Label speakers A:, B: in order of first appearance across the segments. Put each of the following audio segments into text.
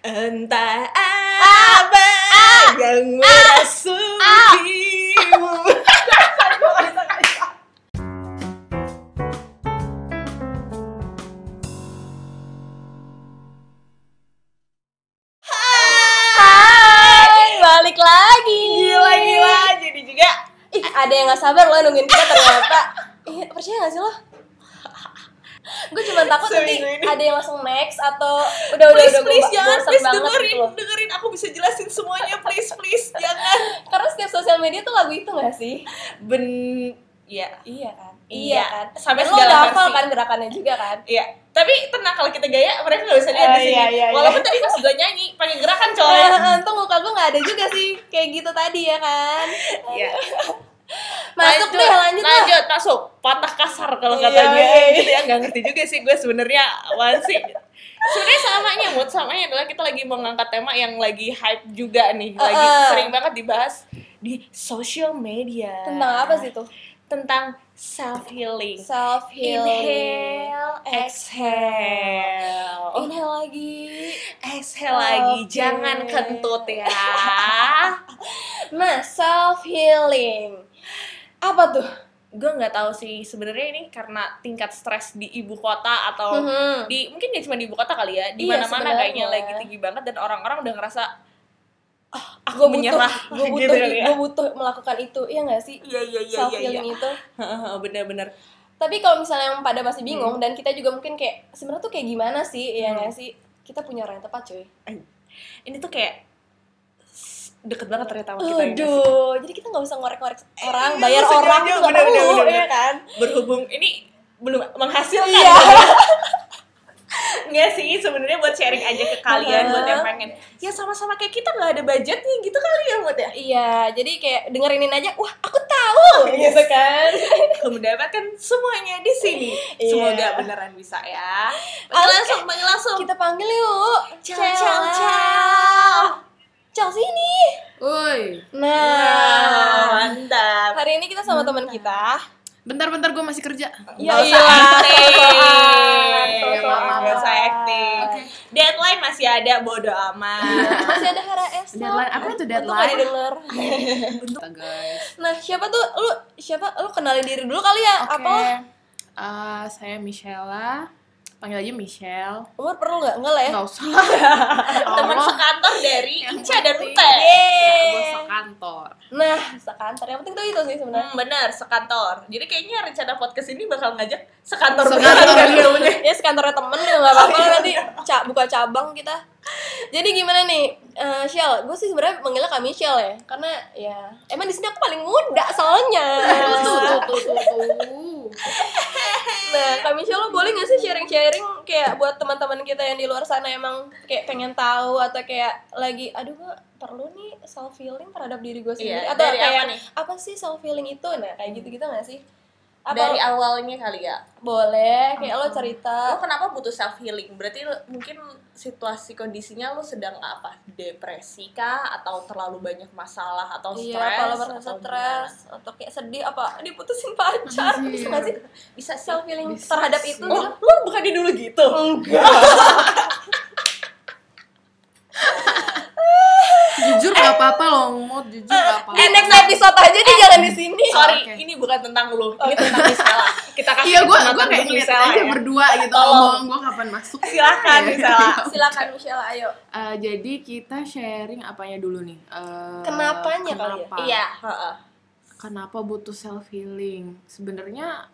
A: Entah apa yang ah. merasukimu
B: Hai, balik lagi.
A: Gila-gila jadi juga
B: Ih, ada yang gak sabar lo nungguin kita ternyata. Ih, percaya gak sih lo? Gue cuma takut nanti
A: Seminggu ini.
B: ada yang langsung next atau udah udah
A: Please
B: udah
A: please
B: gua-
A: jangan
B: bosen
A: please
B: banget
A: dengerin
B: gitu loh.
A: Dengerin aku bisa jelasin semuanya please please jangan
B: Karena setiap sosial media tuh lagu itu gak sih?
A: Ben ya
B: Iya kan?
A: Iya.
B: kan?
A: Sampai
B: Sampai lo
A: segala
B: udah hafal
A: versi.
B: kan gerakannya juga kan?
A: Iya, tapi tenang kalau kita gaya mereka nggak bisa lihat di
B: Oh,
A: sini.
B: iya, iya, iya.
A: Walaupun tadi pas gue nyanyi pakai gerakan coy.
B: Eh, Untung muka gue gak ada juga sih Kayak gitu tadi ya kan
A: Iya.
B: Masuk deh lanjut, lah.
A: lanjut masuk patah kasar kalau
B: Iya,
A: kata gue
B: iya, iya.
A: gitu ya nggak ngerti juga sih gue sebenarnya wan sih sebenarnya samanya mood samanya adalah kita lagi mengangkat tema yang lagi hype juga nih lagi
B: Uh-uh.
A: sering banget dibahas di social media
B: Tentang apa sih tuh?
A: tentang self healing
B: Self healing
A: inhale exhale
B: Oh. Inhale lagi
A: exhale lagi
B: Oke.
A: jangan kentut ya
B: Nah self healing Apa tuh?
A: gue nggak tahu sih sebenarnya ini karena tingkat stres di ibu kota atau
B: Mhm.
A: di mungkin gak cuma di ibu kota kali ya di
B: Iya,
A: mana-mana kayaknya
B: sebenarnya.
A: lagi tinggi banget dan orang-orang udah ngerasa ah aku
B: Gue butuh,
A: menyerah
B: gue butuh,
A: gitu kali ya
B: gue butuh melakukan itu, iya gak sih?
A: iya iya iya
B: Self
A: iya, iya
B: healing itu.
A: Heeh, bener-bener
B: Tapi kalau misalnya yang pada
A: Hmm.
B: masih bingung dan kita juga mungkin kayak sebenarnya tuh kayak gimana sih, iya nggak sih? Kita punya orang yang tepat cuy.
A: ini tuh kayak s- deket banget ternyata sama kita ya nggak sih?
B: Aduh, jadi kita nggak usah ngorek-ngorek orang,
A: Iya,
B: bayar
A: setuju,
B: orang itu nggak
A: bener, bener,
B: perlu,
A: bener,
B: iya
A: bener.
B: kan?
A: berhubung ini belum menghasilkan ya.
B: Iya.
A: Nggak sih sebenarnya buat sharing aja ke kalian buat yang
B: Heeh.
A: pengen ya sama-sama kayak kita nggak ada budgetnya gitu kali ya buat ya
B: Iya, jadi kayak dengerinin aja, wah aku tahu,
A: Yes.
B: gitu kan?
A: Kamu mendapatkan semuanya di sini
B: Iya.
A: semoga beneran bisa ya
B: Oke.
A: Panggil langsung panggil langsung
B: Kita panggil yuk,
A: Ciao, ciao, ciao.
B: Ciao sini.
C: Woi,
A: Wow,
B: Nah,
A: mantap.
B: hari ini kita sama teman kita.
C: bentar-bentar gue masih kerja.
B: Ya
A: Gak usah
B: iyalah.
A: acting.
B: Gak usah
A: Emang Gak usah acting.
B: Oke.
A: Deadline masih ada, bodo amat.
B: Masih ada Hara Esa.
C: Deadline apa itu
B: Untung gak
C: deadline?
B: didengar.
C: Untuk guys.
B: Nah, siapa tuh? Lu siapa? Lu kenalin diri dulu kali ya.
C: Oke.
B: Apa?
C: Eh, saya Michela. Panggil aja Michelle.
B: Umur perlu nggak? Enggak lah ya.
C: Enggak usah lah.
A: Teman
C: Allah.
A: sekantor dari Inca dan Ute.
C: Ya,
B: Yeay.
C: gue sekantor.
B: Nah, sekantor yang penting tuh itu sih sebenarnya.
A: Hmm, bener, sekantor. Jadi kayaknya rencana podcast ini bakal ngajak sekantor
C: Sekantor,
A: beneran.
C: iya,
B: ya sekantornya temen ya nggak apa-apa lah nanti ca- buka cabang kita. Jadi gimana nih, Eh Shell? Gue sih sebenarnya manggilnya kami Shell ya, karena ya emang di sini aku paling muda soalnya.
C: Tuh, tuh, tuh, tuh, tuh.
B: Nah, kami Shell lo boleh nggak sih sharing-sharing kayak buat teman-teman kita yang di luar sana emang kayak pengen tahu atau kayak lagi, aduh gue perlu nih self healing terhadap diri gue sendiri
A: Iya,
B: atau
A: dari
B: kayak
A: apa nih?
B: apa sih self healing itu? Nah, kayak gitu-gitu nggak sih? Apa
A: Dari awalnya kali ya.
B: boleh kayak lo
A: Lo
B: cerita
A: kenapa butuh self healing? Berarti lo- mungkin situasi kondisinya lo sedang apa? Depresi kah atau terlalu banyak masalah atau stres?
B: Iya, kalau merasa
A: atau
B: stres atau kayak sedih apa diputusin pacar,
C: Anjir.
B: bisa nggak sih
A: gimana? Bisa Oh. self
B: self feeling
C: Bisa
B: terhadap
C: sih.
B: itu?
A: Lo,
B: gitu?
A: lo bukannya dulu gitu?
C: Jujur gak apa-apa loh, mood jujur gak apa-apa.
B: Eh, next episode aja deh jangan di sini.
A: Sorry,
C: Oke.
A: ini bukan tentang lo, ini tentang Misela. Kita kasih
C: Iya, gue gue
A: kesempatan
C: kayak
A: untuk
C: ngeliat
A: Misela
C: aja
A: ya.
C: berdua gitu.
A: Tolong.
C: Omongan gue kapan masuk?
A: Silakan
C: Iya.
A: Misela.
B: Silakan Michelle, ayo.
C: Eh, jadi kita sharing apanya dulu nih? Eh,
B: Kenapanya kali ya?
C: kenapa?
A: Iya, heeh.
C: kenapa butuh self healing sebenarnya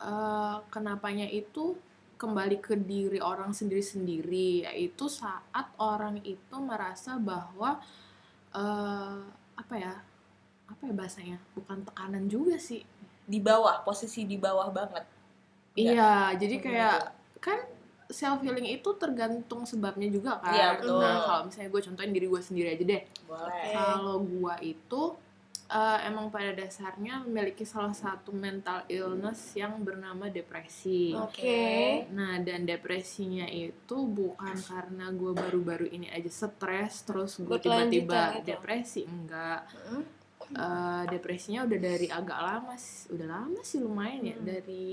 C: eh, kenapanya itu kembali ke diri orang sendiri-sendiri yaitu saat orang itu merasa bahwa eh, apa ya apa ya bahasanya bukan tekanan juga sih
A: di bawah, posisi di bawah banget. Iya.
C: iya jadi
A: Mhm,
C: kayak kan self healing itu tergantung sebabnya juga kan
A: Iya, betul.
C: nah kalau misalnya gue contohin diri gue sendiri aja deh
A: Boleh.
C: kalau gua itu eh, emang pada dasarnya memiliki salah satu mental illness yang bernama depresi.
B: Oke.
C: Nah, dan depresinya itu bukan karena gua baru-baru ini aja stres terus gua
B: Berkelanjutan
C: tiba-tiba
B: gitu.
C: depresi, enggak.
B: Hmm.
C: Eh, depresinya udah dari agak lama, s- udah lama sih lumayan ya
A: Hmm.
C: dari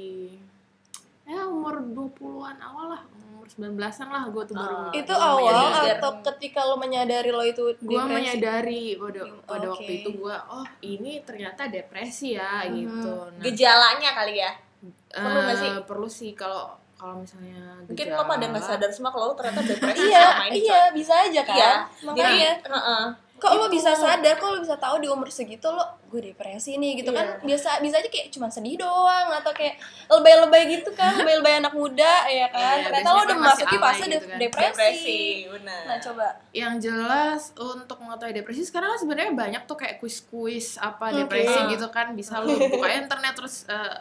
C: ya umur 20-an awal lah, umur 19-an lah gue tuh baru
A: Ah,
C: mulai.
B: Itu
A: Iya,
B: awal
A: menyadari.
B: atau ketika lo menyadari lo itu
C: gue
B: depresi?
C: menyadari pada pada
B: Oke.
C: waktu itu gue oh ini ternyata depresi ya
B: Mhm.
C: gitu nah,
A: Gejalanya kali ya. Hmm. perlu nggak
C: eh,
A: sih?
C: perlu sih kalau kalau misalnya
A: Mungkin
C: gejala-
A: lo pada nggak sadar semua kalau lo ternyata depresi selama
B: Iya,
A: ini.
B: iya, bisa aja kan.
A: Iya. Jadi,
C: Nah,
B: Makanya
A: heeh.
B: kok lo
A: Itu.
B: bisa sadar, kok lo bisa tahu di umur segitu lo gue depresi nih gitu
C: Iya.
B: kan. Biasa bisa aja kayak cuman sedih doang atau kayak lebay-lebay gitu kan, lebay-lebay anak muda ya kan.
C: Iya,
B: Ternyata lo
C: biasanya
B: udah
C: kan masih
B: memasuki
C: alay
B: fase
C: gitu
B: de-
C: kan.
B: depresi.
A: depresi, benar.
B: Nah, coba.
C: yang jelas untuk mengetahui depresi sekarang kan sebenarnya banyak tuh kayak kuis-kuis apa
B: Oke.
C: depresi
A: Ah.
C: gitu kan bisa lu buka internet terus eh,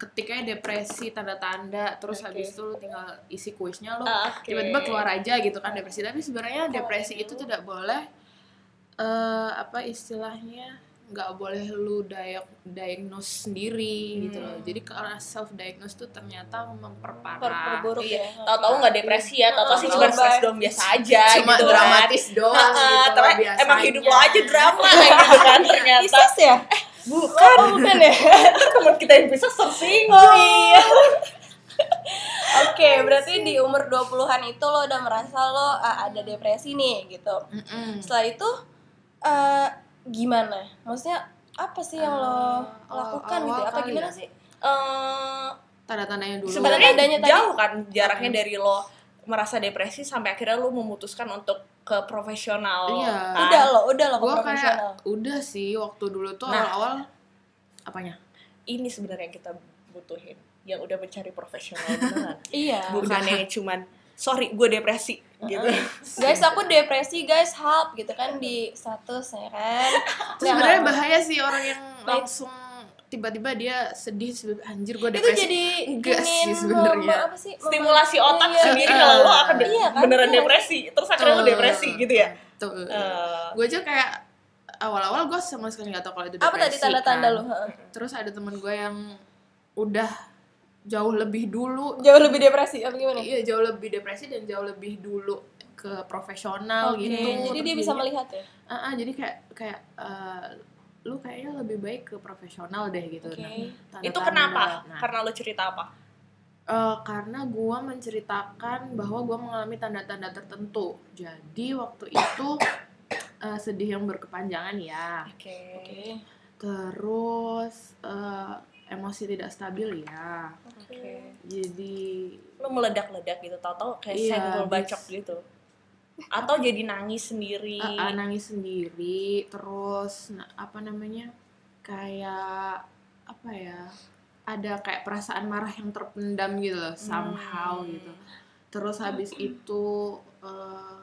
C: ketikanya depresi tanda-tanda terus
A: Oke.
C: habis itu lu tinggal isi kuisnya lu
A: Ah, oke.
C: tiba-tiba keluar aja gitu kan depresi tapi sebenarnya depresi itu tidak boleh eh apa istilahnya nggak boleh lu diag- diagnose sendiri gitu loh
A: Hmm.
C: jadi karena self diagnose tuh ternyata
B: Per-
C: memperparah
B: perburuk
A: Iya.
B: ya.
A: Tahu-tahu nggak depresi ya, tahu-tahu sih
C: Tahu-tahu
A: cuma stres
B: lebay.
A: doang biasa aja
C: cuma
A: gitu kan.
C: dramatis doang
A: Heeh,
C: gitu
A: tapi
C: loh biasanya.
A: emang hidup lo aja drama gitu kan ternyata.
B: Pisces ya?
A: Bukan.
B: Oh, bukan ya?
A: Teman kita yang bisa sersing.
B: Oh iya. Oke, berarti di umur 20-an itu lo udah merasa lo ah, ada depresi nih gitu.
C: Mm-mm.
B: Setelah itu eh, gimana? Maksudnya apa sih yang lo
C: Eh,
B: lakukan
C: awal
B: gitu? Apa
C: kali
B: gimana
C: ya?
B: sih?
A: Eh,
C: tanda-tandanya dulu
A: sebenarnya
B: Tandanya tadi.
A: jauh kan jaraknya dari lo merasa depresi sampai akhirnya lo memutuskan untuk ke profesional.
C: Iya.
A: kan?
B: Udah lo, udah lo ke
C: gue kayak
B: profesional.
C: udah sih waktu dulu tuh
A: Nah.
C: awal-awal apanya
A: Ini sebenarnya yang kita butuhin yang udah mencari profesional beneran.
B: Iya.
A: Bukan yang cuman sorry gue depresi gitu.
B: Guys, aku depresi, guys, help gitu kan di status ya kan.
C: Itu
A: Nah,
B: Nggak,
C: sebenarnya
B: nggak.
C: bahaya sih orang yang
B: Baik.
C: langsung tiba-tiba dia sedih sebab- anjir gue
B: itu
C: depresi.
B: jadi
C: Enggak sih
B: ingin
C: sebenarnya.
B: mem- apa sih? Mem-
A: Stimulasi
C: Oh,
A: otak
B: Iya.
A: sendiri kalau lo akan de-
B: Iya kan?
A: beneran
B: Iya.
A: depresi, terus akhirnya lo depresi gitu ya.
C: Tuh.
A: Eh,
C: Gue aja kayak awal-awal gue sama sekali nggak tahu kalau itu depresi.
B: Apa tadi tanda-tanda
C: kan.
B: lo? Heeh.
C: Terus ada temen gue yang udah jauh lebih dulu.
B: Jauh lebih depresi apa gimana?
C: Iya jauh lebih depresi dan jauh lebih dulu ke profesional
B: Oke,
C: gitu.
B: Jadi
C: Terus
B: dia bisa
C: jadinya-
B: melihat ya.
C: Ah, ah, jadi kayak kayak eh, lu kayaknya lebih baik ke profesional deh gitu.
B: Oke.
C: tanda-tanda.
A: Eh, itu kenapa?
C: Nah,
A: Karena lo cerita apa?
C: Eh, karena gue menceritakan bahwa gue mengalami tanda-tanda tertentu. Jadi waktu itu eh, sedih yang berkepanjangan ya.
A: Oke.
C: Terus eh, emosi tidak stabil ya.
B: Oke.
C: Jadi
A: Lo meledak-ledak gitu, tau-tau kayak
C: Iya,
A: senggol
C: habis-
A: bacok gitu. Atau jadi nangis sendiri.
C: eh, eh, nangis sendiri. Terus na- apa namanya kayak apa ya? Ada kayak perasaan marah yang terpendam gitu loh, somehow
A: Hmm.
C: gitu. terus habis itu eh,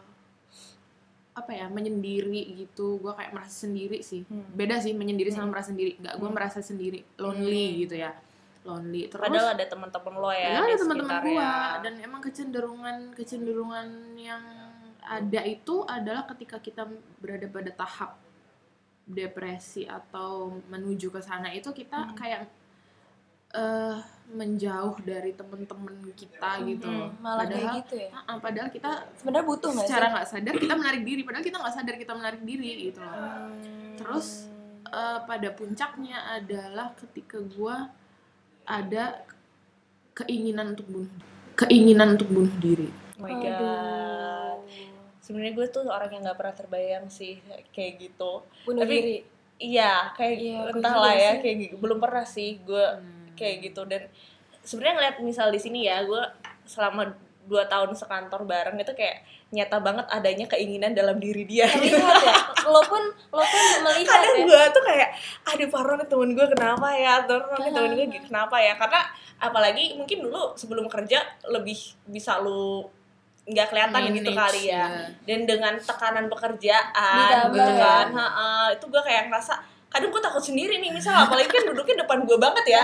C: apa ya menyendiri gitu gue kayak merasa sendiri sih
A: Hmm.
C: beda sih menyendiri
A: Hmm.
C: sama merasa sendiri nggak gue
A: Hmm.
C: merasa sendiri lonely
A: Hmm.
C: gitu ya lonely terus
A: Padahal ada teman-teman lo ya.
C: padahal
A: di
C: ada teman-teman
A: sekitar
C: gue
A: ya.
C: dan emang kecenderungan kecenderungan yang ada itu adalah ketika kita berada pada tahap depresi atau menuju ke sana itu
A: Hmm.
C: kita kayak eh menjauh dari temen-temen kita gitu
A: Hmm,
C: loh.
B: Malah kayak
C: Padahal-
B: gitu ya.
C: Ah, ah, padahal kita
B: Sebenarnya butuh Gitu nggak sih?
A: Oh
C: secara nggak sadar kita menarik diri padahal kita nggak sadar kita menarik diri gitu loh
A: Hmm.
C: Terus, Eh, pada puncaknya adalah ketika gua ada keinginan untuk bunuh keinginan untuk bunuh diri
A: oh my god. Sebenarnya gue tuh orang yang nggak pernah terbayang sih kayak gitu.
B: Bunuh
A: Tapi-
B: diri.
A: Iya, kayak
B: Iya, gue
A: entahlah
B: juga
A: ya,
B: sih. Hmm.
A: kayak gitu. belum pernah sih gue kayak gitu dan sebenarnya ngeliat misal di sini ya, gue selama dua tahun sekantor bareng itu kayak nyata banget adanya keinginan dalam diri dia.
B: Terlihat ya. Lo pun lo pun melihat
A: kadang
B: ya.
A: gue tuh kayak aduh Farhan temen gue kenapa ya Farhan
B: Nah.
A: temen gue gi- kenapa ya karena apalagi mungkin dulu sebelum kerja lebih bisa lu nggak kelihatan gitu
C: Manage,
A: kali ya
C: iya.
A: dan dengan tekanan pekerjaan
B: Ditambah.
A: gitu kan ha-ha, itu gue kayak ngerasa kadang gue takut sendiri nih misal apalagi kan duduknya depan gue banget ya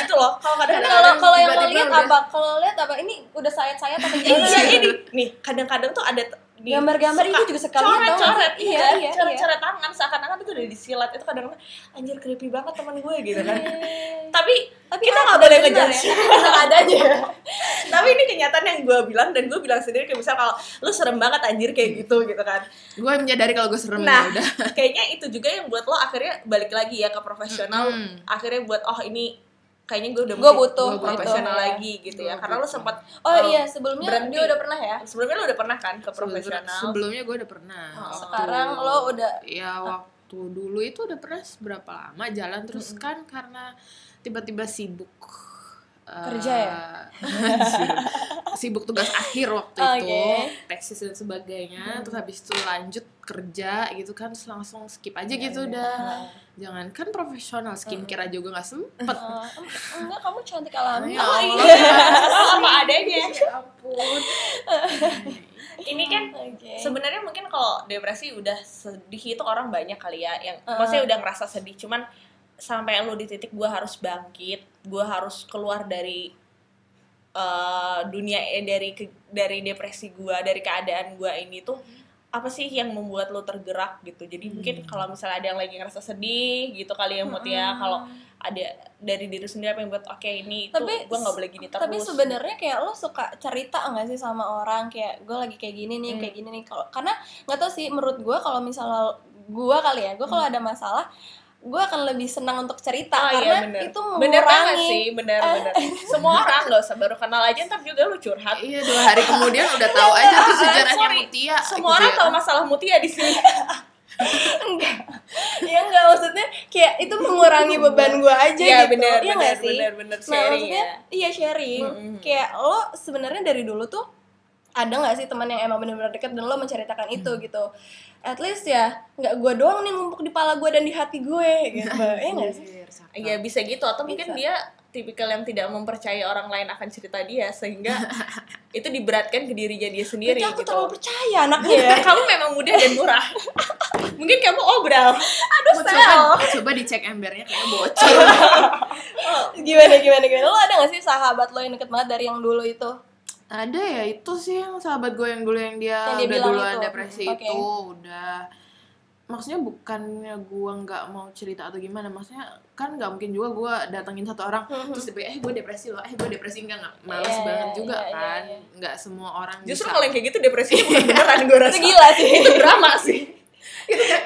A: gitu loh kalau
B: Tapi
A: kadang-kadang
B: kalau kalau yang lo
C: tiba-tiba
B: lihat
C: udah-
B: apa? Kalau lihat apa? Ini udah sayat-sayat apa gimana?
A: iya ini nih kadang-kadang tuh ada t- di-
B: Gambar-gambar
A: suka
B: itu juga sekalian tau gak sih?
A: coret-coret
B: Iya,
A: iya,
B: iya,
A: coret-coret tangan seakan-akan itu udah disilat itu kadang-kadang anjir creepy banget teman gue gitu kan tapi
B: Iya. Tapi
A: kita
B: ah,
A: nggak
B: udah
A: boleh
B: benar
A: ngejudge
B: ya. Benar adanya.
A: tapi ini kenyataan yang gue bilang dan gue bilang sendiri kayak misal kalau lu serem banget anjir
B: Hmm.
A: kayak gitu gitu kan
C: gue menyadari kalau gue serem
A: Nah.
C: ya udah
A: kayaknya itu juga yang buat lo akhirnya balik lagi ya ke profesional
C: Mm-mm.
A: akhirnya buat oh ini kayaknya gue udah
B: Gue
A: mesti
B: Hmm. butuh
C: gitu.
A: profesional
B: Iya.
A: lagi gitu ya.
C: Gua
A: Karena lu
C: butuh.
A: sempat
B: Oh,
A: Oh,
B: iya, sebelumnya
A: berhenti.
B: dia udah pernah ya.
A: sebelumnya lu udah pernah kan ke profesional.
C: Sebelumnya gue udah pernah.
A: Oh,
C: Waktu-
B: Sekarang lo udah
C: ya waktu dulu itu udah pernah berapa lama jalan terus kan karena tiba-tiba sibuk eh,
B: Kerja ya?
C: sibuk tugas akhir waktu itu
B: Oke.
C: tesis dan sebagainya terus habis itu lanjut kerja gitu kan terus langsung skip aja
A: Iya,
C: gitu
A: iya.
C: udah jangan kan profesional skincare aja gue nggak sempet
B: Eh, enggak kamu cantik alami.
C: Ya
A: Oh
C: Allah.
A: iya, apa adanya.
C: Ya ampun
A: Ini kan
B: Oke.
A: sebenarnya mungkin kalau depresi udah sedih itu orang banyak kali ya yang
B: Uh.
A: maksudnya udah ngerasa sedih cuman sampai lu di titik gue harus bangkit gue harus keluar dari eh, dunia eh, dari ke- dari depresi gue dari keadaan gue ini tuh
B: Mm-hmm.
A: apa sih yang membuat lu tergerak gitu jadi mungkin kalau misalnya ada yang lagi ngerasa sedih gitu kali ya Mut ya
B: Mm-mm.
A: kalau ada dari diri sendiri apa yang buat oke ini itu
B: Tapi
A: gue nggak boleh gini terus
B: Tapi sebenarnya kayak lo suka cerita nggak sih sama orang kayak gue lagi kayak gini
A: Hmm.
B: nih, kayak gini nih. Kalau karena nggak tau sih menurut gue kalau misalnya gue kali ya, gue kalau ada masalah gue akan lebih senang untuk cerita
A: Hmm. Oh, iya,
B: karena
A: bener.
B: itu
A: Bener banget sih,
B: mengurangi. Eh,
A: bener bener. Semua orang nggak usah baru kenal aja ntar juga lu curhat.
C: iya dua hari kemudian udah tahu aja tuh sejarahnya
A: Sorry.
C: Mutia Iya.
A: Semua orang tahu masalah Mutia di
B: Iya.
A: sini.
B: enggak. ya enggak maksudnya kayak itu mengurangi beban gue aja gitu.
A: bener
B: Iya
A: bener
B: nggak sih?
A: bener bener
B: Nah,
A: sharing
B: maksudnya
A: ya.
B: iya sharing.
A: Mm-mm.
B: Kayak lo sebenarnya dari dulu tuh ada nggak sih teman yang emang benar-benar deket dan lo menceritakan
A: Mm.
B: itu gitu. At least ya nggak gue doang nih numpuk di pala gue dan di hati gue gitu.
A: Nah,
B: Iya nggak sih?
A: Iya bisa gitu atau mungkin
B: Bisa.
A: dia tipikal yang tidak mempercayai orang lain akan cerita dia sehingga itu diberatkan ke dirinya dia sendiri
B: Tapi aku
A: gitu. Iya.
B: terlalu percaya anaknya ya.
A: kamu memang mudah dan murah. mungkin kamu obral. Aduh,
C: coba, coba dicek embernya kayak bocor
A: Oh.
B: gimana gimana gimana. Lo ada nggak sih sahabat lo yang deket banget dari yang dulu itu?
C: ada ya itu sih yang sahabat gue yang dulu yang dia,
B: Yang dia
C: udah
B: bilang
C: duluan
B: itu.
C: depresi
B: Oke.
C: itu udah maksudnya bukannya gue nggak mau cerita atau gimana maksudnya kan nggak mungkin juga gue datengin satu orang terus tiba eh gue depresi loh eh gue depresi enggak nggak
B: Hmm,
C: males
B: Iya,
C: banget
B: iya,
C: juga
B: iya,
C: kan
B: iya.
C: nggak semua orang
A: Justru
C: bisa.
A: kalau yang kayak gitu depresinya bukan beneran gue rasa.
B: Itu gila sih.
A: itu drama sih. Gitu kan.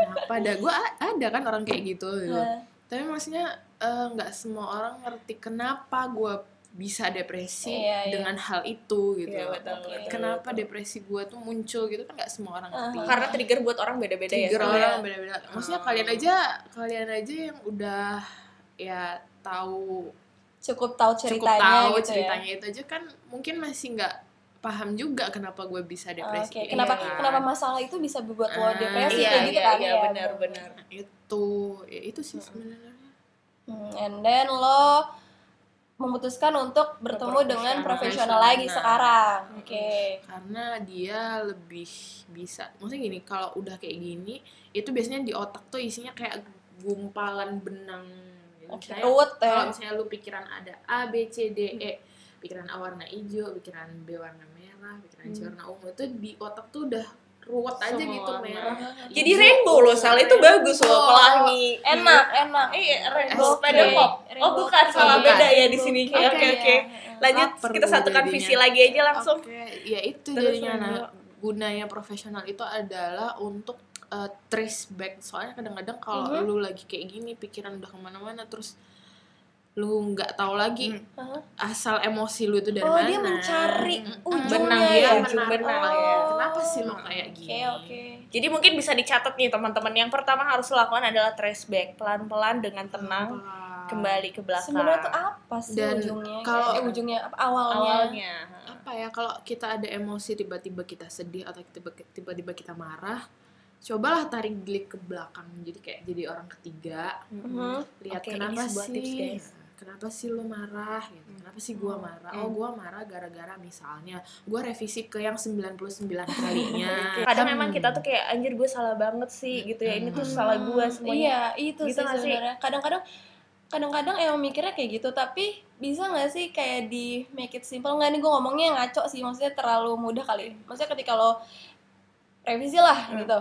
C: kenapa ada gue a- ada kan orang kayak gitu, gitu.
B: Nah,
C: tapi maksudnya eh, nggak semua orang ngerti kenapa gue bisa depresi
B: Iya, iya.
C: dengan hal itu gitu
A: Iya,
C: loh.
A: betul,
B: Oke.
A: betul,
C: kenapa
A: betul.
C: depresi gue tuh muncul gitu kan nggak semua orang ngerti
B: Uh-huh.
A: karena trigger buat orang beda-beda ya
B: iya.
C: trigger
A: sebenarnya.
C: orang beda-beda. Maksudnya kalian aja, kalian aja yang udah ya tahu
B: cukup tahu
C: cukup
B: ceritanya
C: tahu
B: gitu ya.
C: ceritanya itu aja kan mungkin masih nggak paham juga kenapa gue bisa
B: Oke,
C: depresi. kayak
B: kenapa
C: gitu kan.
B: kenapa masalah itu bisa buat lo
C: Ah,
B: depresi
A: iya
B: kayak gitu
A: iya
B: kan
A: iya
B: ya?
A: benar benar
C: Nah, itu ya, itu sih sebenarnya.
B: Hmm, and then lo memutuskan untuk bertemu
A: Ke
B: dengan profesional
C: profesional.
B: lagi
C: Nah.
B: sekarang.
A: Mm-mm.
B: Oke.
C: Karena dia lebih bisa. Maksudnya gini, kalau udah kayak gini, itu biasanya di otak tuh isinya kayak gumpalan benang. Jadi
B: Oke,
C: misalnya-
B: ruwet ya.
C: kalau misalnya lu pikiran ada A B C D E pikiran A warna hijau pikiran B warna merah pikiran C warna ungu itu di otak tuh udah ruwet aja
A: Semua
C: gitu
A: warna.
C: merah
A: jadi
C: hijau,
A: rainbow loh sal itu bagus loh
C: Oh,
A: pelangi
B: Iya. Enak, enak.
A: eh rainbow
C: Oke.
A: sepeda pop oh
B: Rainbow
A: bukan salah
C: Bukan.
A: beda ya di sini
B: Oke,
A: oke oke
B: iya.
A: lanjut
C: Lapar
A: kita
C: gua
A: satukan
C: jadinya.
A: visi lagi aja langsung
C: Oke, ya itu
A: Terus
C: jadinya nah,
A: rainbow.
C: gunanya profesional itu adalah untuk uh, trace back soalnya kadang-kadang kalau
B: Mhm.
C: lu lagi kayak gini pikiran udah kemana-mana terus lu nggak tahu lagi
A: Hmm.
B: Hah?
C: asal emosi lu itu dari
B: Mhm. Oh,
C: mana Mhm.
B: dia mencari
C: Mm-mm.
B: ujungnya
C: benang
B: ya.
C: dia
A: Ujung
C: menang
A: benang
C: ya.
A: ya.
C: kenapa sih lo kayak
B: Oke,
C: gini
B: oke.
A: jadi mungkin bisa dicatat nih teman-teman yang pertama harus lakukan adalah trace back pelan-pelan dengan tenang
C: Apa?
A: kembali ke belakang
B: Sebenarnya tuh apa sih
C: Dan
B: ujungnya?
C: kalau-
B: Eh, ujungnya apa awalnya?
A: awalnya
C: apa ya kalau kita ada emosi tiba-tiba kita sedih atau tiba- tiba-tiba kita marah cobalah tarik delik ke belakang jadi kayak jadi orang ketiga
B: Mhm.
C: lihat
A: Oke,
C: kenapa
A: ini sebuah
C: sih
A: tips, guys. Hmm.
C: kenapa sih lu marah gitu. kenapa sih gua marah oh gua marah gara-gara misalnya gua revisi ke yang 99 kalinya
A: kadang
C: Hmm.
A: memang kita tuh kayak anjir gue salah banget sih gitu ya ini tuh salah gue
B: Hmm,
A: semuanya
B: Iya, itu
A: Gitu
B: sih
A: nggak sih?
B: sebenarnya. Kadang-kadang kadang-kadang emang mikirnya kayak gitu, tapi bisa nggak sih kayak di make it simple? Nggak nih gue ngomongnya ngaco sih, maksudnya terlalu mudah kali. Maksudnya ketika lo revisi lah gitu.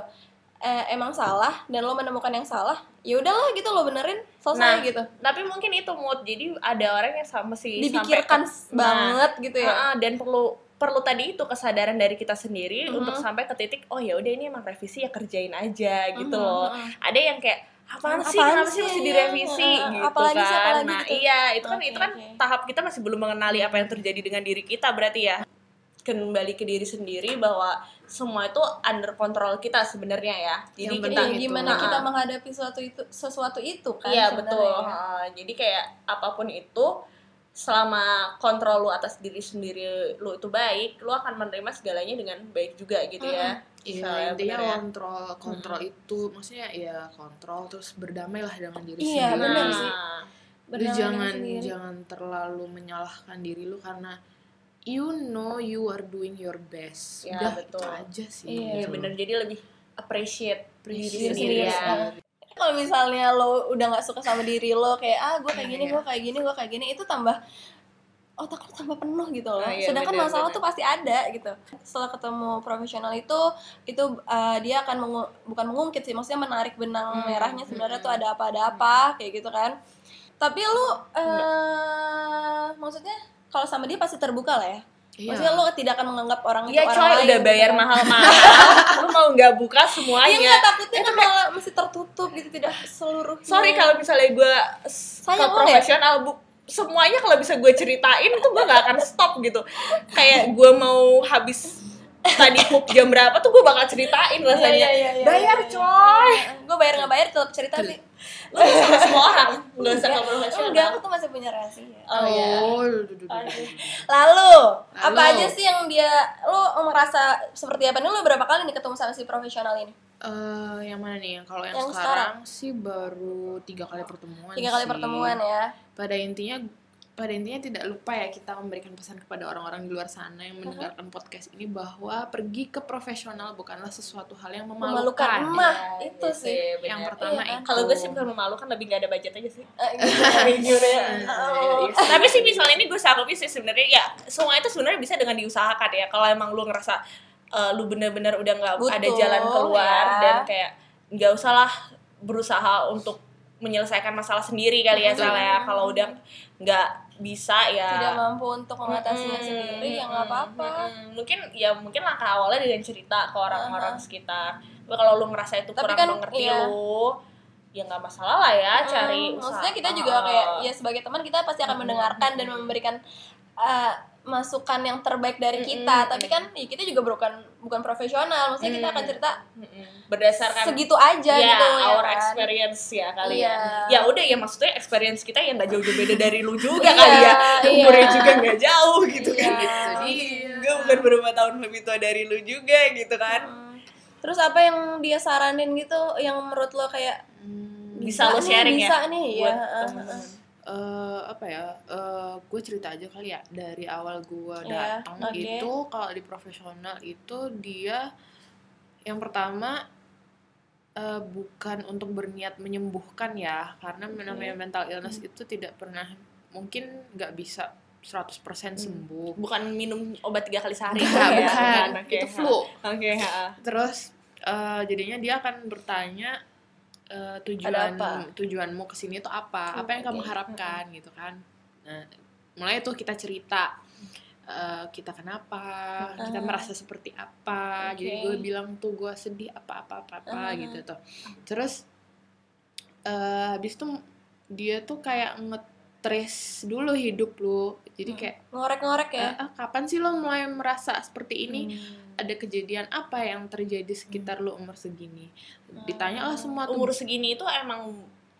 B: Eh, emang salah dan lo menemukan yang salah, ya udahlah gitu lo benerin selesai
A: Nah,
B: gitu.
A: tapi mungkin itu mood jadi ada orang yang sama sih
B: Dipikirkan
A: sampai-
B: banget gitu ya.
A: Heeh, dan perlu perlu tadi itu kesadaran dari kita sendiri untuk sampai ke titik oh ya udah ini emang revisi ya kerjain aja gitu
B: Mhm,
A: loh
B: mhm.
A: ada yang kayak apaan sih
B: Apaan
A: kenapa sih
B: sih,
A: mesti
B: iya,
A: direvisi
B: iya,
A: gitu
B: apalagi
A: kan
B: sih, apalagi
A: nah
B: gitu.
A: iya itu kan
B: Oke,
A: itu kan
B: oke.
A: tahap kita masih belum mengenali apa yang terjadi dengan diri kita berarti ya kembali ke diri sendiri bahwa semua itu under control kita sebenarnya ya jadi
C: Yang
A: kita
C: penting
B: Iya,
C: itu.
B: gimana
A: Nah,
B: kita menghadapi sesuatu itu sesuatu itu kan
A: iya
B: sebenarnya.
A: betul Heeh, jadi kayak apapun itu selama kontrol lu atas diri sendiri lu itu baik lu akan menerima segalanya dengan baik juga gitu ya Misalnya,
C: Iya, intinya
A: bener ya.
C: kontrol, kontrol itu maksudnya ya kontrol terus berdamailah dengan diri
B: Iya,
C: sendiri.
B: bener
A: Nah,
B: sih.
C: Lu
B: Berdamai dengan
C: jangan
B: sendiri.
C: jangan terlalu menyalahkan diri lu karena you know you are doing your best.
A: Ya,
C: Udah
A: betul.
C: itu aja sih.
B: Iya,
A: Iya
C: gitu.
A: bener jadi lebih appreciate diri
C: Appreciate
A: sendiri
B: diri
C: Oh,
A: ya.
C: iya.
B: sendiri. kalau misalnya lo udah nggak suka sama diri lo kayak ah gue kayak
C: Nah,
B: gini
C: iya.
B: gue kayak gini gue kayak gini itu tambah otak lo tambah penuh gitu loh
A: Nah, iya,
B: sedangkan
A: bener,
B: masalah
A: bener.
B: tuh pasti ada gitu setelah ketemu profesional itu itu uh, dia akan mengu- bukan mengungkit sih maksudnya menarik benang
C: Hmm,
B: merahnya sebenarnya
C: hmm.
B: tuh ada apa ada apa kayak gitu kan tapi lu eh maksudnya kalau sama dia pasti terbuka lah ya
C: Iya.
B: maksudnya lo tidak akan menganggap orang itu
A: Iya
B: orang
A: coy
B: lain
A: udah
B: gitu
A: bayar
B: kan.
A: mahal-mahal Lu mau nggak buka
B: Iya
A: semuanya
B: nggak, takutnya kan malah mesti tertutup gitu tidak seluruh
A: Sorry kalau misalnya gue
B: Iya. Sayang ya.
A: Ke
B: boleh.
A: profesional bu Semuanya kalau bisa gue ceritain tuh gue gak akan stop gitu Kayak gue mau habis Tadi pup jam berapa tuh gue bakal ceritain rasanya
B: Iya, iya, iya, iya,
A: Bayar
B: iya,
A: coy
B: gue bayar nggak bayar tetap cerita sih Iya.
A: Lu sama semua orang Gak usah ke profesional
B: enggak aku tuh masih punya rahasia
A: Oh iya
C: Oh, duh, duh, duh, duh, duh.
B: lalu, apa
C: Lalu.
B: aja sih yang dia lo merasa seperti apa nih lo berapa kali nih ketemu sama si profesional ini
C: Eh, yang mana nih? Kalau yang,
B: Yang
C: sekarang, sih baru tiga kali pertemuan.
B: tiga kali
C: sih.
B: pertemuan ya
C: pada intinya pada intinya tidak lupa ya kita memberikan pesan kepada orang-orang di luar sana yang mendengarkan podcast ini bahwa pergi ke profesional bukanlah sesuatu hal yang
B: memalukan
C: memalukan.
B: emah
A: Iya,
B: itu
A: iya
B: sih
A: bener.
C: Yang pertama
B: Iya, kan?
C: itu.
A: Kalau gue sih bukan memalukan lebih gak ada budget aja sih ya.
B: Eh,
A: iya.
B: gitu.
C: Oh.
A: tapi sih misalnya ini gue sanggupin sih sebenarnya ya semua itu sebenarnya bisa dengan diusahakan ya kalau emang lu ngerasa eh, lu bener-bener udah nggak
B: Butuh,
A: ada jalan keluar
B: ya.
A: dan kayak nggak usahlah berusaha untuk menyelesaikan masalah sendiri kali ya
C: Betul.
A: salah ya kalau udah nggak bisa ya
B: tidak mampu untuk mengatasinya
A: Mm-mm,
B: sendiri ya
A: mm-mm,
B: nggak apa-apa
A: mm-mm. mungkin ya mungkin langkah awalnya dengan cerita ke orang-orang sekitar tapi kalau lu ngerasa itu
B: Tapi
A: kurang
B: kan,
A: mengerti
B: iya.
A: lu ya nggak masalah lah ya cari
B: Hmm,
A: usaha
B: maksudnya kita
A: Ah.
B: juga kayak ya sebagai teman kita pasti akan mendengarkan dan memberikan eh, masukan yang terbaik dari kita
A: Mm-mm.
B: tapi kan ya, kita juga bukan bukan profesional maksudnya kita akan
A: Mm.
B: cerita
A: Mm-mm. berdasarkan
B: segitu aja
A: ya,
B: gitu ya
A: our
B: kan.
A: experience ya kali
B: Iya.
A: ya. Ya udah ya maksudnya experience kita yang nggak jauh-jauh beda dari lu juga
B: Iya,
A: kali ya.
B: iya.
A: Umurnya juga nggak jauh gitu kan.
B: Iya.
A: Jadi gue bukan berapa tahun lebih tua dari lu juga gitu kan.
B: Hmm. terus apa yang dia saranin gitu yang menurut lo kayak "Ah,
C: Hmm,
A: Bisa lu
B: nih,
A: sharing ya
B: bisa nih ya
A: buat
B: eh,
A: temen.
B: eh.
C: eh, apa ya? eh, gue cerita aja kali ya dari awal gue
B: Iya,
C: datang
B: oke.
C: itu kalau di profesional itu dia yang pertama eh, bukan untuk berniat menyembuhkan ya karena namanya mental illness
B: Hmm.
C: itu tidak pernah mungkin nggak bisa 100%
B: Hmm.
C: sembuh.
A: Bukan minum obat tiga kali sehari.
B: Iya,
C: Bukan,
A: ya,
C: bukan.
A: Oke,
C: Itu
A: ha.
C: flu.
A: Oke, ha.
C: Terus eh, jadinya dia akan bertanya eh, tujuan
B: apa? Hmm,
C: tujuanmu kesini itu apa? Apa yang kamu
B: Oke. Hmm.
C: harapkan gitu kan? Nah, mulai tuh kita cerita eh, kita kenapa, kita
B: Ah.
C: merasa seperti apa.
B: Oke.
C: Jadi gue bilang tuh gue sedih apa apa apa apa
B: Ah.
C: gitu tuh. Terus eh, habis itu dia tuh kayak ngetrace dulu hidup lu. Jadi
B: Hmm.
C: kayak
B: ngorek-ngorek ya
A: Uh-huh.
C: "Eh, eh, kapan sih lo mulai merasa
B: Hmm.
C: seperti ini? ada kejadian apa yang terjadi sekitar lu umur segini ditanya lah semua tuh
A: Umur segini itu emang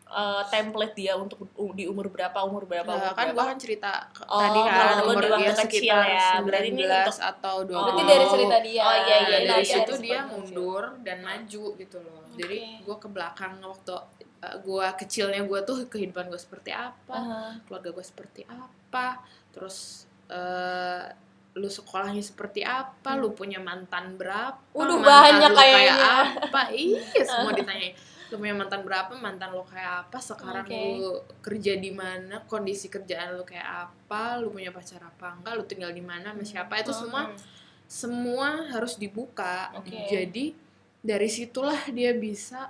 A: eh, template dia untuk u- di umur berapa umur berapa umur
C: Nah, kan
A: berapa.
C: gua kan cerita ke-
A: Oh,
C: tadi kan
A: kalau lu
C: umur
A: di waktu
C: dia
A: kecil
C: sekitar
A: ya. Berarti ini
C: 19
A: untuk-
C: atau 20
B: berarti dari cerita dia
A: Oh, iya, iya,
C: Nah,
A: iya,
B: Nah,
C: dari
A: iya,
C: situ
A: iya.
C: dia mundur dan maju gitu loh jadi
B: Oke.
C: gua ke belakang waktu uh, gua kecilnya gua tuh kehidupan gua seperti apa
B: Eh,
C: keluarga gue seperti apa, terus eh, lu sekolahnya seperti apa, lu punya mantan berapa,
B: Hmm. Waduh,
C: mantan
B: banyak
C: lu kayak
B: kayaknya.
C: apa, iya semua ditanyain. Lu punya mantan berapa, mantan lu kayak apa, sekarang
B: Oke.
C: lu kerja di mana, kondisi kerjaan lu kayak apa, lu punya pacar apa enggak, lu tinggal di mana, sama siapa, itu
B: Hmm.
C: semua semua harus dibuka.
B: Oke.
C: Jadi dari situlah dia bisa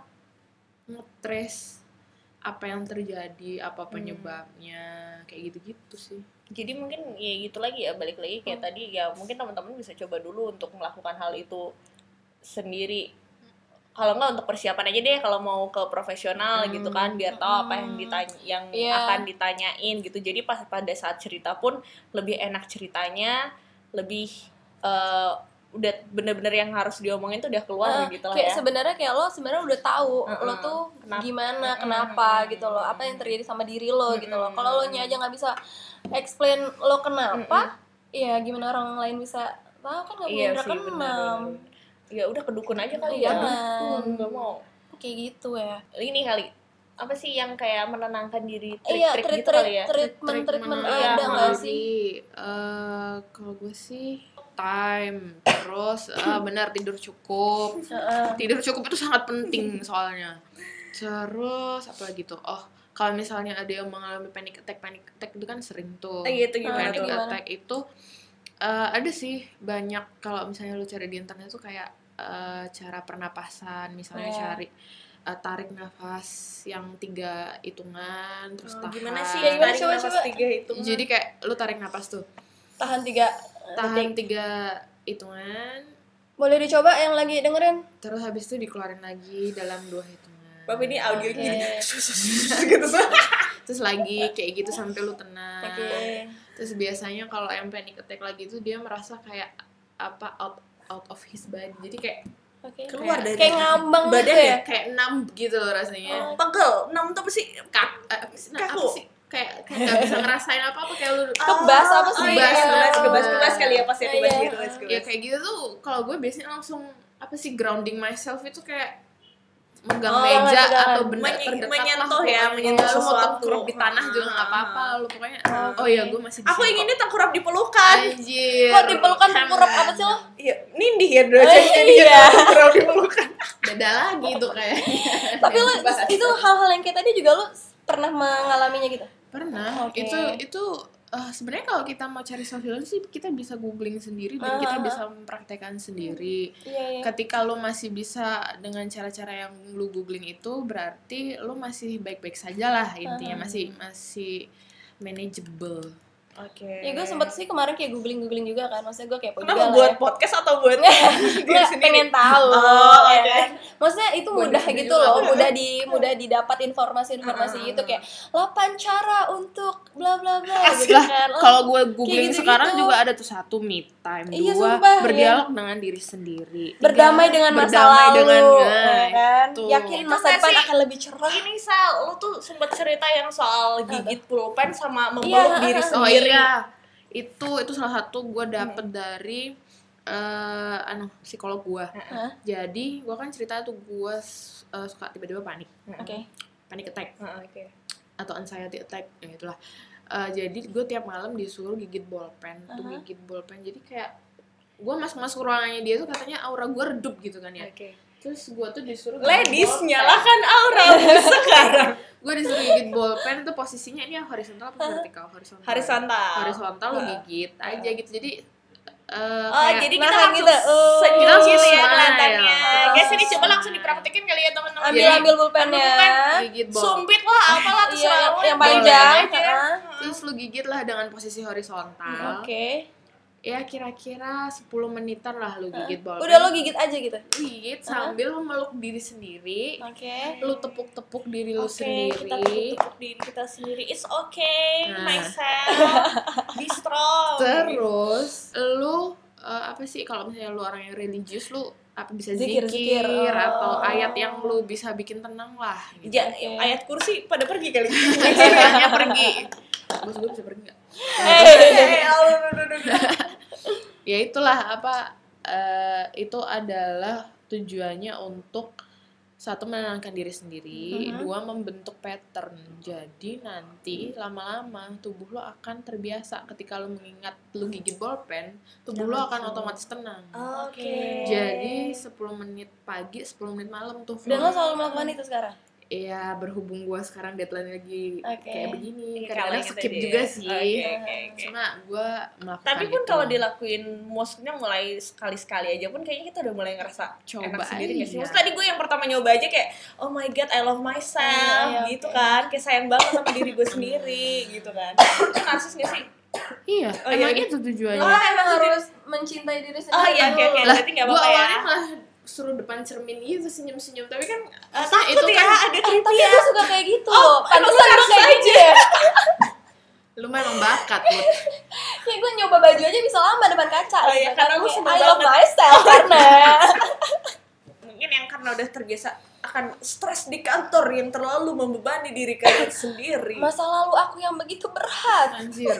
C: ngetrace apa yang terjadi, apa penyebabnya, kayak gitu-gitu sih.
A: jadi mungkin ya gitu lagi ya balik lagi
B: Hmm.
A: kayak tadi ya mungkin teman-teman bisa coba dulu untuk melakukan hal itu sendiri kalau nggak untuk persiapan aja deh kalau mau ke profesional
C: Hmm.
A: gitu kan biar tahu apa yang
B: Hmm.
A: ditanya yang
B: Iya.
A: akan ditanyain gitu jadi pas pada saat cerita pun lebih enak ceritanya lebih eh, udah bener-bener yang harus diomongin tuh udah keluar
B: Nah,
A: gitu lah
B: kayak
A: ya
B: sebenarnya kayak lo sebenarnya udah tahu
A: Mm-mm.
B: lo tuh
A: Kenapa? Uh-uh.
B: gimana
A: Mm-mm.
B: kenapa gitu loh apa yang terjadi sama diri lo gitu loh
A: Mm-mm.
B: kalau lo nya aja nggak bisa explain lo kenapa ya gimana orang lain bisa tahu kan nggak
A: Uh-uh. iya
B: mungkin
A: sih
B: kenal Iya.
A: benar ya udah kedukun aja kali ya
B: Jangan.
A: Dukun, nggak mau
B: kayak gitu ya
A: ini kali apa sih yang kayak menenangkan diri
B: iya
A: trik-trik
B: treat
A: gitu kali ya
B: treatment treatment
A: Iya,
B: ada nggak
A: menarik.
B: sih
C: Eh, kalau gue sih time terus eh, benar tidur cukup
B: Heeh.
C: tidur cukup itu sangat penting soalnya terus apa lagi tuh oh kalau misalnya ada yang mengalami panic attack panic attack itu kan sering
B: Oh,
C: tuh
A: Eh,
B: iya,
A: gitu gimana
C: panic
A: tuh
B: gimana?
C: attack itu eh, ada sih banyak kalau misalnya lu cari di internet tuh kayak eh, cara pernapasan
A: Oh, ya.
C: misalnya
B: Iya.
C: cari eh, tarik nafas yang tiga hitungan
A: Oh,
C: terus tahan
A: gimana sih
B: Ya,
A: tarik
B: gimana?
A: Eh,
B: Coba,
A: nafas
B: coba.
A: tiga itu
C: jadi kayak lu tarik nafas tuh
B: tahan tiga
C: tahan tiga hitungan
B: boleh dicoba yang lagi dengerin
C: terus habis itu dikeluarin lagi dalam dua hitungan
A: Bapak ini audionya
B: Oke.
A: jadi gitu tuh.
C: terus lagi kayak gitu sampai lu tenang
A: Nah.
B: oke
C: terus biasanya kalau yang panic attack lagi tuh dia merasa kayak apa out out of his body jadi kayak
B: oke
A: Keluar dari
B: kayak ngambang
A: badan
B: gitu ya
C: kayak numb gitu loh rasanya
B: Oh.
A: Pegel, enam tuh apa sih? Kak.
C: Eh, nah, apa
A: Kaku.
C: sih? kayak kayak nggak bisa ngerasain apa apa kayak lu
B: kebas
A: Ah,
B: apa sih?
A: Kebas,
C: Iya.
A: kebas, kebas, kebas kali ya pas ya
B: Iya,
A: kebas
B: iya.
A: gitu, kebas,
C: ya
A: kebas.
C: kayak gitu tuh kalau gue biasanya langsung apa sih grounding myself itu kayak megang
B: Oh,
C: meja
B: pegangan.
C: atau benda
A: Menye-
C: terdekat
A: menyentuh
C: lah
A: ya,
C: pokoknya. Iya,
A: menyentuh
C: lu mau
A: sesuatu.
C: tengkurap di tanah juga
B: Ah.
C: nggak apa-apa lu pokoknya oh iya gue masih di
A: Aku
C: sini kok.
A: inginnya tengkurap di pelukan.
C: anjir
B: kok dipelukan tengkurap apa sih lo
A: Iya, nindih ya dulu
B: Oh,
A: jadi
B: iya.
A: tengkurap di pelukan.
C: beda lagi tuh kayak
B: tapi lo itu hal-hal yang kayak tadi juga lo pernah mengalaminya gitu
C: pernah
B: Oke.
C: itu itu eh, sebenarnya kalau kita mau cari self healing sih kita bisa googling sendiri dan
B: Ah,
C: kita
B: ah,
C: bisa mempraktekkan sendiri
B: iya iya
C: ketika lu masih bisa dengan cara-cara yang lu googling itu berarti lu masih baik-baik saja lah intinya masih masih manageable
A: Oke.
B: Ya gue sempet sih kemarin kayak googling-googling juga kan Maksudnya gue kepo
A: Kenapa
B: juga
A: buat
B: lah ya.
A: podcast atau buat
B: Gue
A: diri
B: pengen tahu
A: Oh,
B: ya
A: oke.
B: kan. Maksudnya itu
C: Buat
B: mudah
C: diri
B: gitu
C: juga.
B: loh Mudah di mudah didapat informasi-informasi
A: Mm-mm.
B: gitu Kayak 8 cara untuk bla bla bla
C: Asik
B: gitu
C: lah.
B: kan. Oh,
C: kalau gue googling
B: gitu-gitu.
C: sekarang juga ada tuh satu me time
B: Iya,
C: dua
B: sumpah,
C: berdialog dengan diri sendiri
B: Berdamai dengan masa
C: Berdamai
B: lalu
C: dengan-
B: ya
C: nah,
B: kan?
C: itu.
B: Yakin
A: Itu
B: masa
A: nggak
B: depan
A: sih?
B: akan lebih cerah
A: Ini Sal, lu tuh sempet cerita yang soal gigit pulpen sama
B: Iya,
A: memeluk diri
B: ah, ah.
C: Oh
A: sendiri.
C: iya, itu itu salah satu gue dapet dari eh anu psikolog gue.
B: Oh, Hah?
C: Jadi gue kan cerita tuh gue suka tiba-tiba panik,
B: Oke
C: panik attack
A: Ah, Oke.
C: atau anxiety attack, ya itulah. Eh, jadi gue tiap malam disuruh gigit bolpen, tuh
B: Aha.
C: gigit bolpen. Jadi kayak gue masuk masuk ruangannya dia tuh katanya aura gue redup gitu kan ya.
A: Oke.
C: Terus gue tuh disuruh gigit
A: Ladies,
C: bolpen.
A: nyalakan kan, aura
B: Iya.
A: sekarang.
C: Gue disuruh gigit bolpen tuh posisinya ini horizontal apa vertikal? Horizontal.
A: Horizontal.
C: Horizontal lu gigit aja gitu. Jadi eh,
A: Oh,
C: kayak-
A: jadi kita
B: nahan
A: langsung
B: gitu. Oh.
A: senyum
C: Kita langsung
A: gitu ya
C: smile.
A: kelihatannya.
B: Oh.
A: Guys, ini coba langsung dipraktekin kali ya teman-teman.
B: Ambil
C: Jadi,
B: ambil pulpennya
A: pulpen,
C: gigit bol-
A: Sumpit lah, apalah
B: Iya
A: terserah lu,
B: yang
A: boleh
B: panjang
A: aja.
B: heeh.
C: terus lu gigit lah dengan posisi horizontal
B: Oke
C: ya kira-kira 10 menitan lah lu gigit bolpen
B: Udah lo gigit aja gitu
C: Lu gigit sambil lu meluk diri sendiri
B: Oke
C: lu tepuk-tepuk diri lu
A: Oke, kita
C: sendiri
A: tutup diri kita sendiri. It's okay,
C: Nah.
A: myself. Be strong.
C: terus lu eh, apa sih kalau misalnya lu orang yang religius lu apa bisa
B: Zikir, zikir.
C: zikir,
B: Oh.
C: atau ayat yang lu bisa bikin tenang lah gitu.
A: Ja-
B: Oke.
A: ayat kursi pada pergi kali.
B: Ya,
C: Ayatnya pergi bos gue bisa pergi nggak
A: Eh,
B: ya,
A: Allah, aduh, aduh, aduh.
C: ya itulah apa eh, itu adalah tujuannya untuk satu menenangkan diri sendiri,
B: Mhm.
C: dua membentuk pattern. Jadi nanti lama-lama tubuh lo akan terbiasa ketika lo mengingat lo gigit bolpen, tubuh lo akan otomatis tenang.
A: Oke.
C: Jadi 10 menit pagi, 10 menit malam tuh.
B: Dan lo
C: flow.
B: selalu melakukan itu sekarang?
C: Iya, berhubung gua sekarang deadline lagi
B: Oke.
C: kayak begini,
A: Kayak
C: kadang
A: kaleng
C: skip
A: tadi
C: juga
A: ya.
C: sih.
A: Oke, oke, oke.
C: Cuma gua melakukan
B: Kan
A: Tapi pun
C: itu.
A: kalau dilakuin maksudnya mulai sekali-sekali aja pun kayaknya kita udah mulai ngerasa
C: Coba
A: enak sendiri gak sih?
B: iya.
C: aja.
A: Maksudnya tadi gue yang pertama nyoba aja kayak oh my god I love myself
B: Iya, iya,
A: gitu
B: oke.
A: kan. Kayak sayang banget sama diri gue sendiri gitu kan. Itu narsis gak sih?
C: Iya,
A: Oh, iya.
C: emang itu tujuannya.
B: Lo emang harus mencintai diri sendiri
A: Oh iya oke
B: dulu.
A: oke
C: Lah,
A: berarti gak
C: Gua
A: apa-apa ya.
C: awalnya malah suruh depan cermin gitu senyum-senyum tapi kan
A: Eh,
B: Ah,
C: maksudnya
A: takut ya ada
B: Eh, tapi
A: trivia
B: aku suka kayak gitu oh, pantesan
A: pantesan
B: gue kayak gitu ya
C: lu memang bakat Mut.
B: kayak gue nyoba baju aja bisa lama depan kaca
A: Oh iya,
B: gitu.
A: karena lu
B: Kayak,
A: seneng
B: I love
A: banget.
B: myself karena
A: mungkin yang karena udah terbiasa akan stres di kantor yang terlalu membebani diri kalian sendiri
B: masa lalu aku yang begitu berat
C: anjir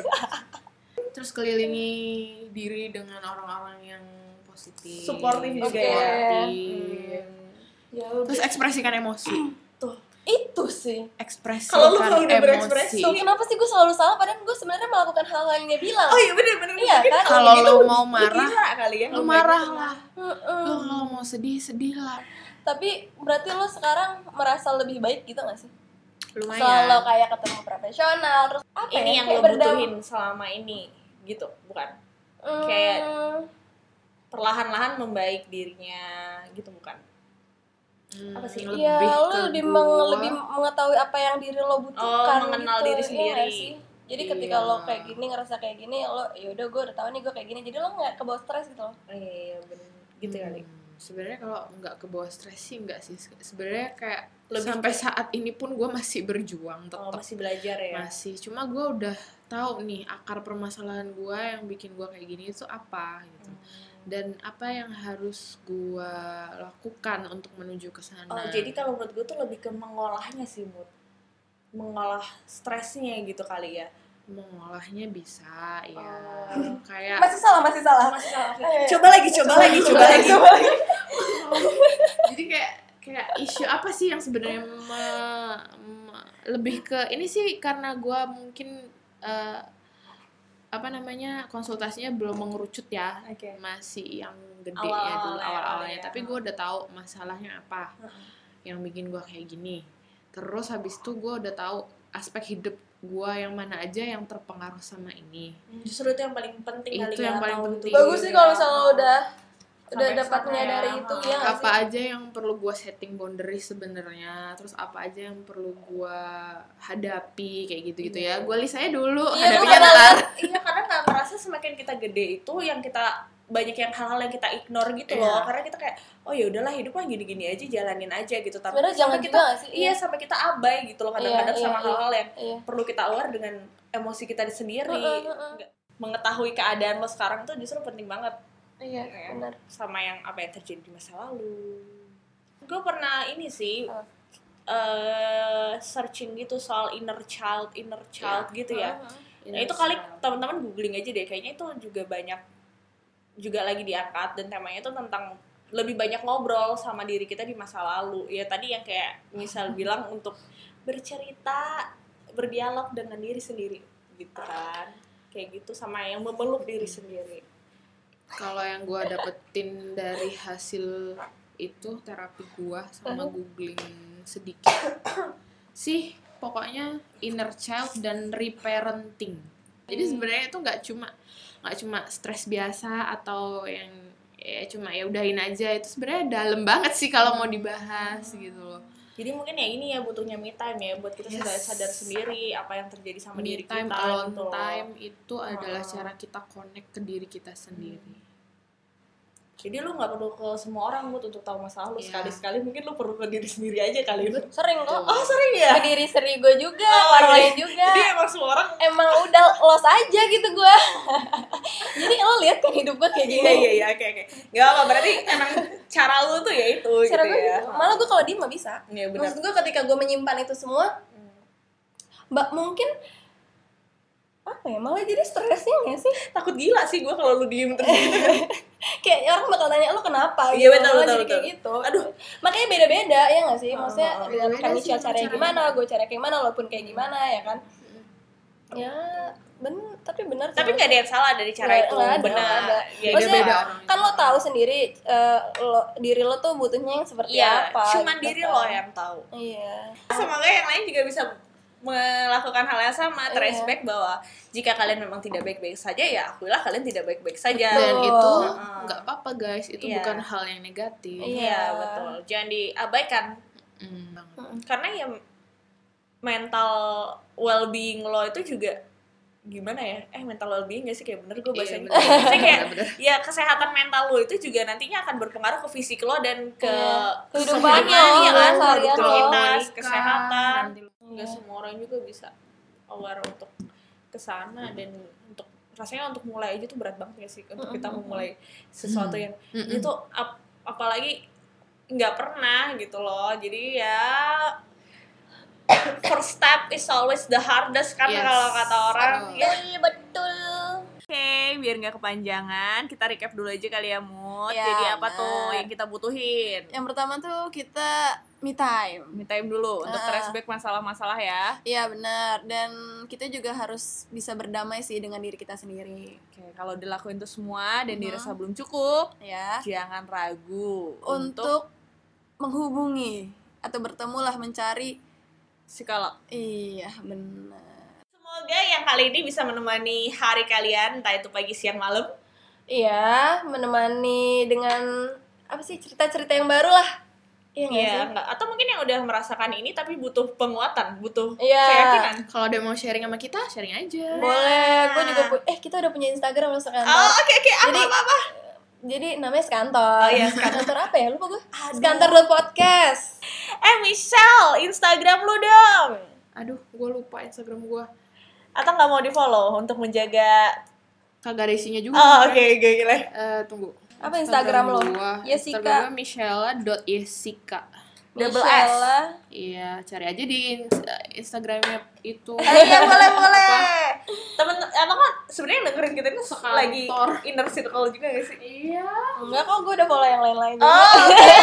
C: terus kelilingi diri dengan orang-orang yang positif
A: Supportive juga
B: ya.
C: Supportive.
B: ya
C: terus ekspresikan emosi
A: tuh
B: itu sih
C: ekspresikan
A: Kalau lu kalau udah berekspresi,
C: emosi
B: Tuh, kenapa sih gue selalu salah padahal gue sebenarnya melakukan hal-hal yang dia bilang
A: oh iya bener-bener
B: Iya,
A: Mungkin
B: kan?
A: kalau
C: Kalau
A: gitu
C: lu mau
A: lu
C: marah,
A: gila kali ya
C: lu
A: kalau
C: marah
A: gitu.
C: lah
B: Mm-mm.
C: lu kalau mau sedih sedih lah
B: tapi berarti lo sekarang merasa lebih baik gitu gak sih selalu
C: lumayan
B: kayak ketemu profesional terus apa
A: ini
B: ya,
A: yang
B: kayak
A: lu
B: berdam-
A: butuhin selama ini gitu bukan
B: Hmm,
A: Kayak- perlahan-lahan membaik dirinya gitu bukan
C: Hmm,
A: Apa sih?
B: ya
C: ke
B: lo lebih, meng-
C: gua.
B: lebih mengetahui apa yang diri lo
A: Oh,
B: butuhkan
A: mengenal
B: gitu,
A: diri
B: iya
A: sendiri.
B: nggak sih? jadi ketika
C: Iya.
B: lo kayak gini ngerasa kayak gini lo yaudah gue udah tahu nih gue kayak gini jadi lo nggak kebawa stres gitu loh
A: Oh, iya iya bener gitu kali
C: Hmm, sebenarnya kalau nggak ke bawah stres sih nggak sih Se- sebenarnya kayak
A: Lebih-
C: sampai saat ini pun gue masih berjuang tetap
A: oh, masih belajar ya
C: masih cuma gue udah tahu nih akar permasalahan gue yang bikin gue kayak gini itu apa gitu
A: Hmm.
C: dan apa yang harus gue lakukan untuk menuju ke sana
A: Oh, jadi kalau menurut gue tuh lebih ke mengolahnya sih, Mut. Mengolah stresnya gitu kali ya.
C: mengolahnya bisa ya
A: Oh.
C: kayak
B: masih salah masih salah
A: Masih salah.
B: Eh,
A: Coba lagi, coba lagi, coba lagi.
C: jadi kayak kayak isu apa sih yang sebenarnya me- me- lebih ke ini sih karena gue mungkin eh, apa namanya konsultasinya belum mengerucut ya
A: Oke.
C: masih yang gede ya
A: Awal-awal
C: dulu
A: ya,
C: awal-awalnya
A: awal ya.
C: tapi gue udah tahu masalahnya apa
A: Heeh.
C: yang bikin gue kayak gini terus habis itu gue udah tahu aspek hidup gue yang mana aja yang terpengaruh sama ini
A: Justru itu yang paling penting kali
C: Itu
A: ya,
C: yang paling
A: tahu
C: penting.
A: diri
B: bagus sih kalau misalnya lo
A: ya.
B: udah udah
A: Sampai
B: dapat
A: sana
B: menyadari
A: ya.
B: itu ya nggak sih?
C: apa aja yang perlu gue setting boundary sebenarnya terus apa aja yang perlu gue hadapi kayak gitu gitu ya gue listanya dulu
B: Iya,
C: hadapinya
B: gua
C: ntar
A: Iya, karena nggak merasa semakin kita gede itu yang kita banyak yang hal-hal yang kita ignore gitu loh.
C: Iya.
A: Karena kita kayak oh ya udahlah hidup mah gini-gini aja, jalanin aja gitu. Tapi
B: sebenarnya
A: sampai
B: jangan juga
A: kita
B: nggak sih
A: iya sampai kita abai gitu loh kadang-kadang
B: Iya,
A: sama
B: iya,
A: hal-hal ya. yang
B: iya
A: perlu kita aware dengan emosi kita sendiri.
B: Heeh, heeh.
A: Nggak- Mengetahui keadaan lo sekarang tuh justru penting banget
B: iya
A: Iya.
B: benar
A: sama yang apa yang terjadi di masa lalu. Gue pernah ini sih
B: Apa?
A: eh searching gitu soal inner child, inner child
B: Iya.
A: gitu ya.
C: Iya,
A: Nah, itu kali teman-teman googling aja deh kayaknya itu juga banyak juga lagi diangkat dan temanya itu tentang lebih banyak ngobrol sama diri kita di masa lalu. Ya tadi yang kayak misal bilang untuk bercerita, berdialog dengan diri sendiri gitu kan. Kayak gitu sama yang memeluk diri
C: Hmm.
A: sendiri.
C: kalau yang gue dapetin dari hasil itu terapi gue sama
A: Uh-huh.
C: googling sedikit sih pokoknya inner child dan reparenting jadi
A: Hmm.
C: sebenarnya itu nggak cuma nggak cuma stres biasa atau yang ya cuma ya udahin aja itu sebenarnya dalam banget sih kalau mau dibahas gitu loh
A: Jadi mungkin ya ini ya butuhnya me time ya buat kita
C: Yes.
A: sadar sadar sendiri apa yang terjadi sama diri
C: Me time
A: kita
C: alone
A: gitu loh.
C: time itu adalah
A: Ah.
C: cara kita connect ke diri kita sendiri
A: Jadi lu nggak perlu ke semua orang buat untuk tahu masalah lu
C: Iya.
A: sekali-sekali mungkin lu perlu ke diri sendiri aja kali lu.
B: sering kok
A: Oh, sering ya?
B: Ke Iya. diri sendiri gue juga
A: Oh,
B: ke orang
A: iya.
B: lain juga
A: Jadi emang semua orang
B: emang udah los aja gitu gue jadi lo lihat kan hidup gue kayak
A: Iya
B: gini
A: iya iya oke oke. Gak apa berarti emang cara lu tuh ya itu
B: Cara
A: gitu
B: gue
A: ya.
B: gitu. malah gue kalau diem gak bisa
A: Iya benar.
B: maksud gue ketika gue menyimpan itu semua
A: Hmm.
B: mbak mungkin apa ya malah jadi stresnya gak sih
A: Takut gila sih gue kalau lu diem terus.
B: Iya.
A: gitu.
B: kayak orang bakal tanya lo kenapa
A: Iya, betul,
B: Malah
A: betul,
B: jadi kayak
A: betul.
B: gitu aduh makanya beda beda ya gak sih
A: Oh,
B: maksudnya
A: oh, oh.
B: dengan
C: Beda-beda
B: kami
C: sih
B: caranya
C: caranya.
B: gimana gue cara kayak gimana walaupun kayak gimana ya kan ya ben tapi benar sih.
A: Hmm. Tapi nggak ada yang salah dari cara
B: Nggak-
A: itu.
B: nggak ada,
A: benar.
B: nggak ada.
A: Iya,
B: Maksudnya-
A: gitu.
C: Beda-beda orang.
B: kan lo tahu sendiri eh, lo diri lo tuh butuhnya yang seperti
A: Iya,
B: apa
A: cuman
B: gitu
A: diri
B: kan.
A: lo ya. yang tahu.
B: iya
A: Semoga yang lain juga bisa melakukan hal yang sama,
B: Iya.
A: trace back bahwa jika kalian memang tidak baik-baik saja ya akuilah kalian tidak baik-baik saja.
C: dan
B: Betul.
C: itu
A: Heeh.
C: nggak apa-apa guys itu
A: Iya.
C: bukan hal yang negatif
B: Iya.
A: Iya, betul. Jangan diabaikan
D: Hmm,
C: Mm.
A: karena ya mental well-being lo itu juga gimana ya eh mental well-being gak sih kayak bener gue bahasa
D: Iya,
A: Inggris
D: bener.
A: Maksudnya kayak
D: Bener-bener.
A: ya kesehatan mental lo itu juga nantinya akan berpengaruh ke fisik lo dan ke
B: Iya.
A: kehidupannya,
B: Kehidupannya lo,
C: ya
A: iya kan
B: seharian lo.
A: produktivitas
C: Nikah,
A: kesehatan
C: nanti lo-
A: nggak semua orang juga bisa aware untuk kesana dan untuk rasanya untuk mulai aja tuh berat banget ya sih untuk kita
B: Mm-mm.
A: memulai sesuatu yang
D: Mm-mm.
C: Hmm.
A: itu ap- apalagi nggak pernah gitu loh jadi ya first step is always the hardest kan
C: Yes.
A: kalau kata orang
D: Betul.
A: ya betul oke biar nggak kepanjangan kita recap dulu aja kali ya mood
B: Ya,
A: jadi apa
B: benar.
A: tuh yang kita butuhin
B: Yang pertama tuh kita me time.
A: me time dulu untuk
B: Ah.
A: flashback masalah-masalah ya
B: Iya benar dan kita juga harus bisa berdamai sih dengan diri kita sendiri
A: Oke, kalau dilakuin itu semua dan
B: Mhm.
A: dirasa belum cukup,
B: ya
A: jangan ragu untuk
B: untuk menghubungi atau bertemulah mencari
A: psikolog.
B: iya benar
A: Semoga yang kali ini bisa menemani hari kalian, entah itu pagi, siang, malam.
B: iya menemani dengan apa sih cerita-cerita yang baru lah iya nggak
A: Iya,
B: sih
A: enggak. Atau mungkin yang udah merasakan ini tapi butuh penguatan, butuh
B: Iya.
A: keyakinan.
C: Kalau ada yang mau sharing sama kita, sharing aja.
B: boleh gue juga pu- eh kita udah punya Instagram loh sekantor
A: Nah. Oh, oke oke. Apa
B: Jadi-
A: apa apa?
B: jadi namanya sekantor
A: Oh, iya,
B: sekantor apa ya lupa gue sekantor podcast
A: Eh, Michelle, Instagram lu dong.
C: Aduh, gue lupa Instagram gue.
A: Atau nggak mau di-follow untuk menjaga
C: Kagak ada isinya juga.
A: Oh, oke oke oke.
C: Eh, tunggu.
B: Apa Instagram lo?
C: gua.
B: Yesika.
C: Instagram gue michela.yesika.
A: Double S.
B: Michelle.
C: Iya, cari aja di ins- Instagramnya itu.
A: Eh, Iya boleh boleh. Temen emang kan sebenarnya yang dengerin kita ini
C: Sekantor.
A: lagi inner circle juga gak sih?
C: Iya.
B: enggak kok gue udah follow yang lain-lain juga.
A: Oh, oke.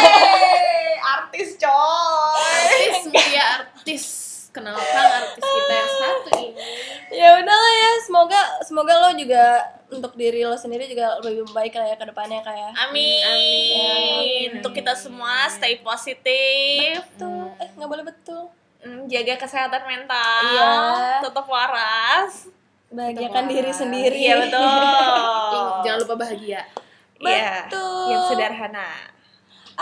A: artis coy.
C: Artis Mulia artis. Kenalkan artis kita yang satu ini.
B: ya udahlah ya semoga semoga lo juga untuk diri lo sendiri juga lebih baik lah ya ke depannya kayak
A: Amin.
C: Amin.
A: Untuk kita semua stay positif,
B: betul eh nggak boleh betul
A: Mm, jaga kesehatan mental,
B: Iya.
A: tetap waras.
B: bahagiakan
C: Tetap
B: diri
C: waras.
B: sendiri
A: Iya betul.
C: Ing- Jangan lupa bahagia.
A: Iya.
B: Betul.
A: Yang sederhana.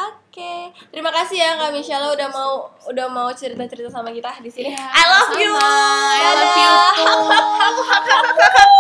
B: oke terima kasih ya kak Michelle udah mau udah mau cerita cerita sama kita di sini
A: I love you.
C: Sama. I love you too.
A: Kamu, kamu, kamu, kamu.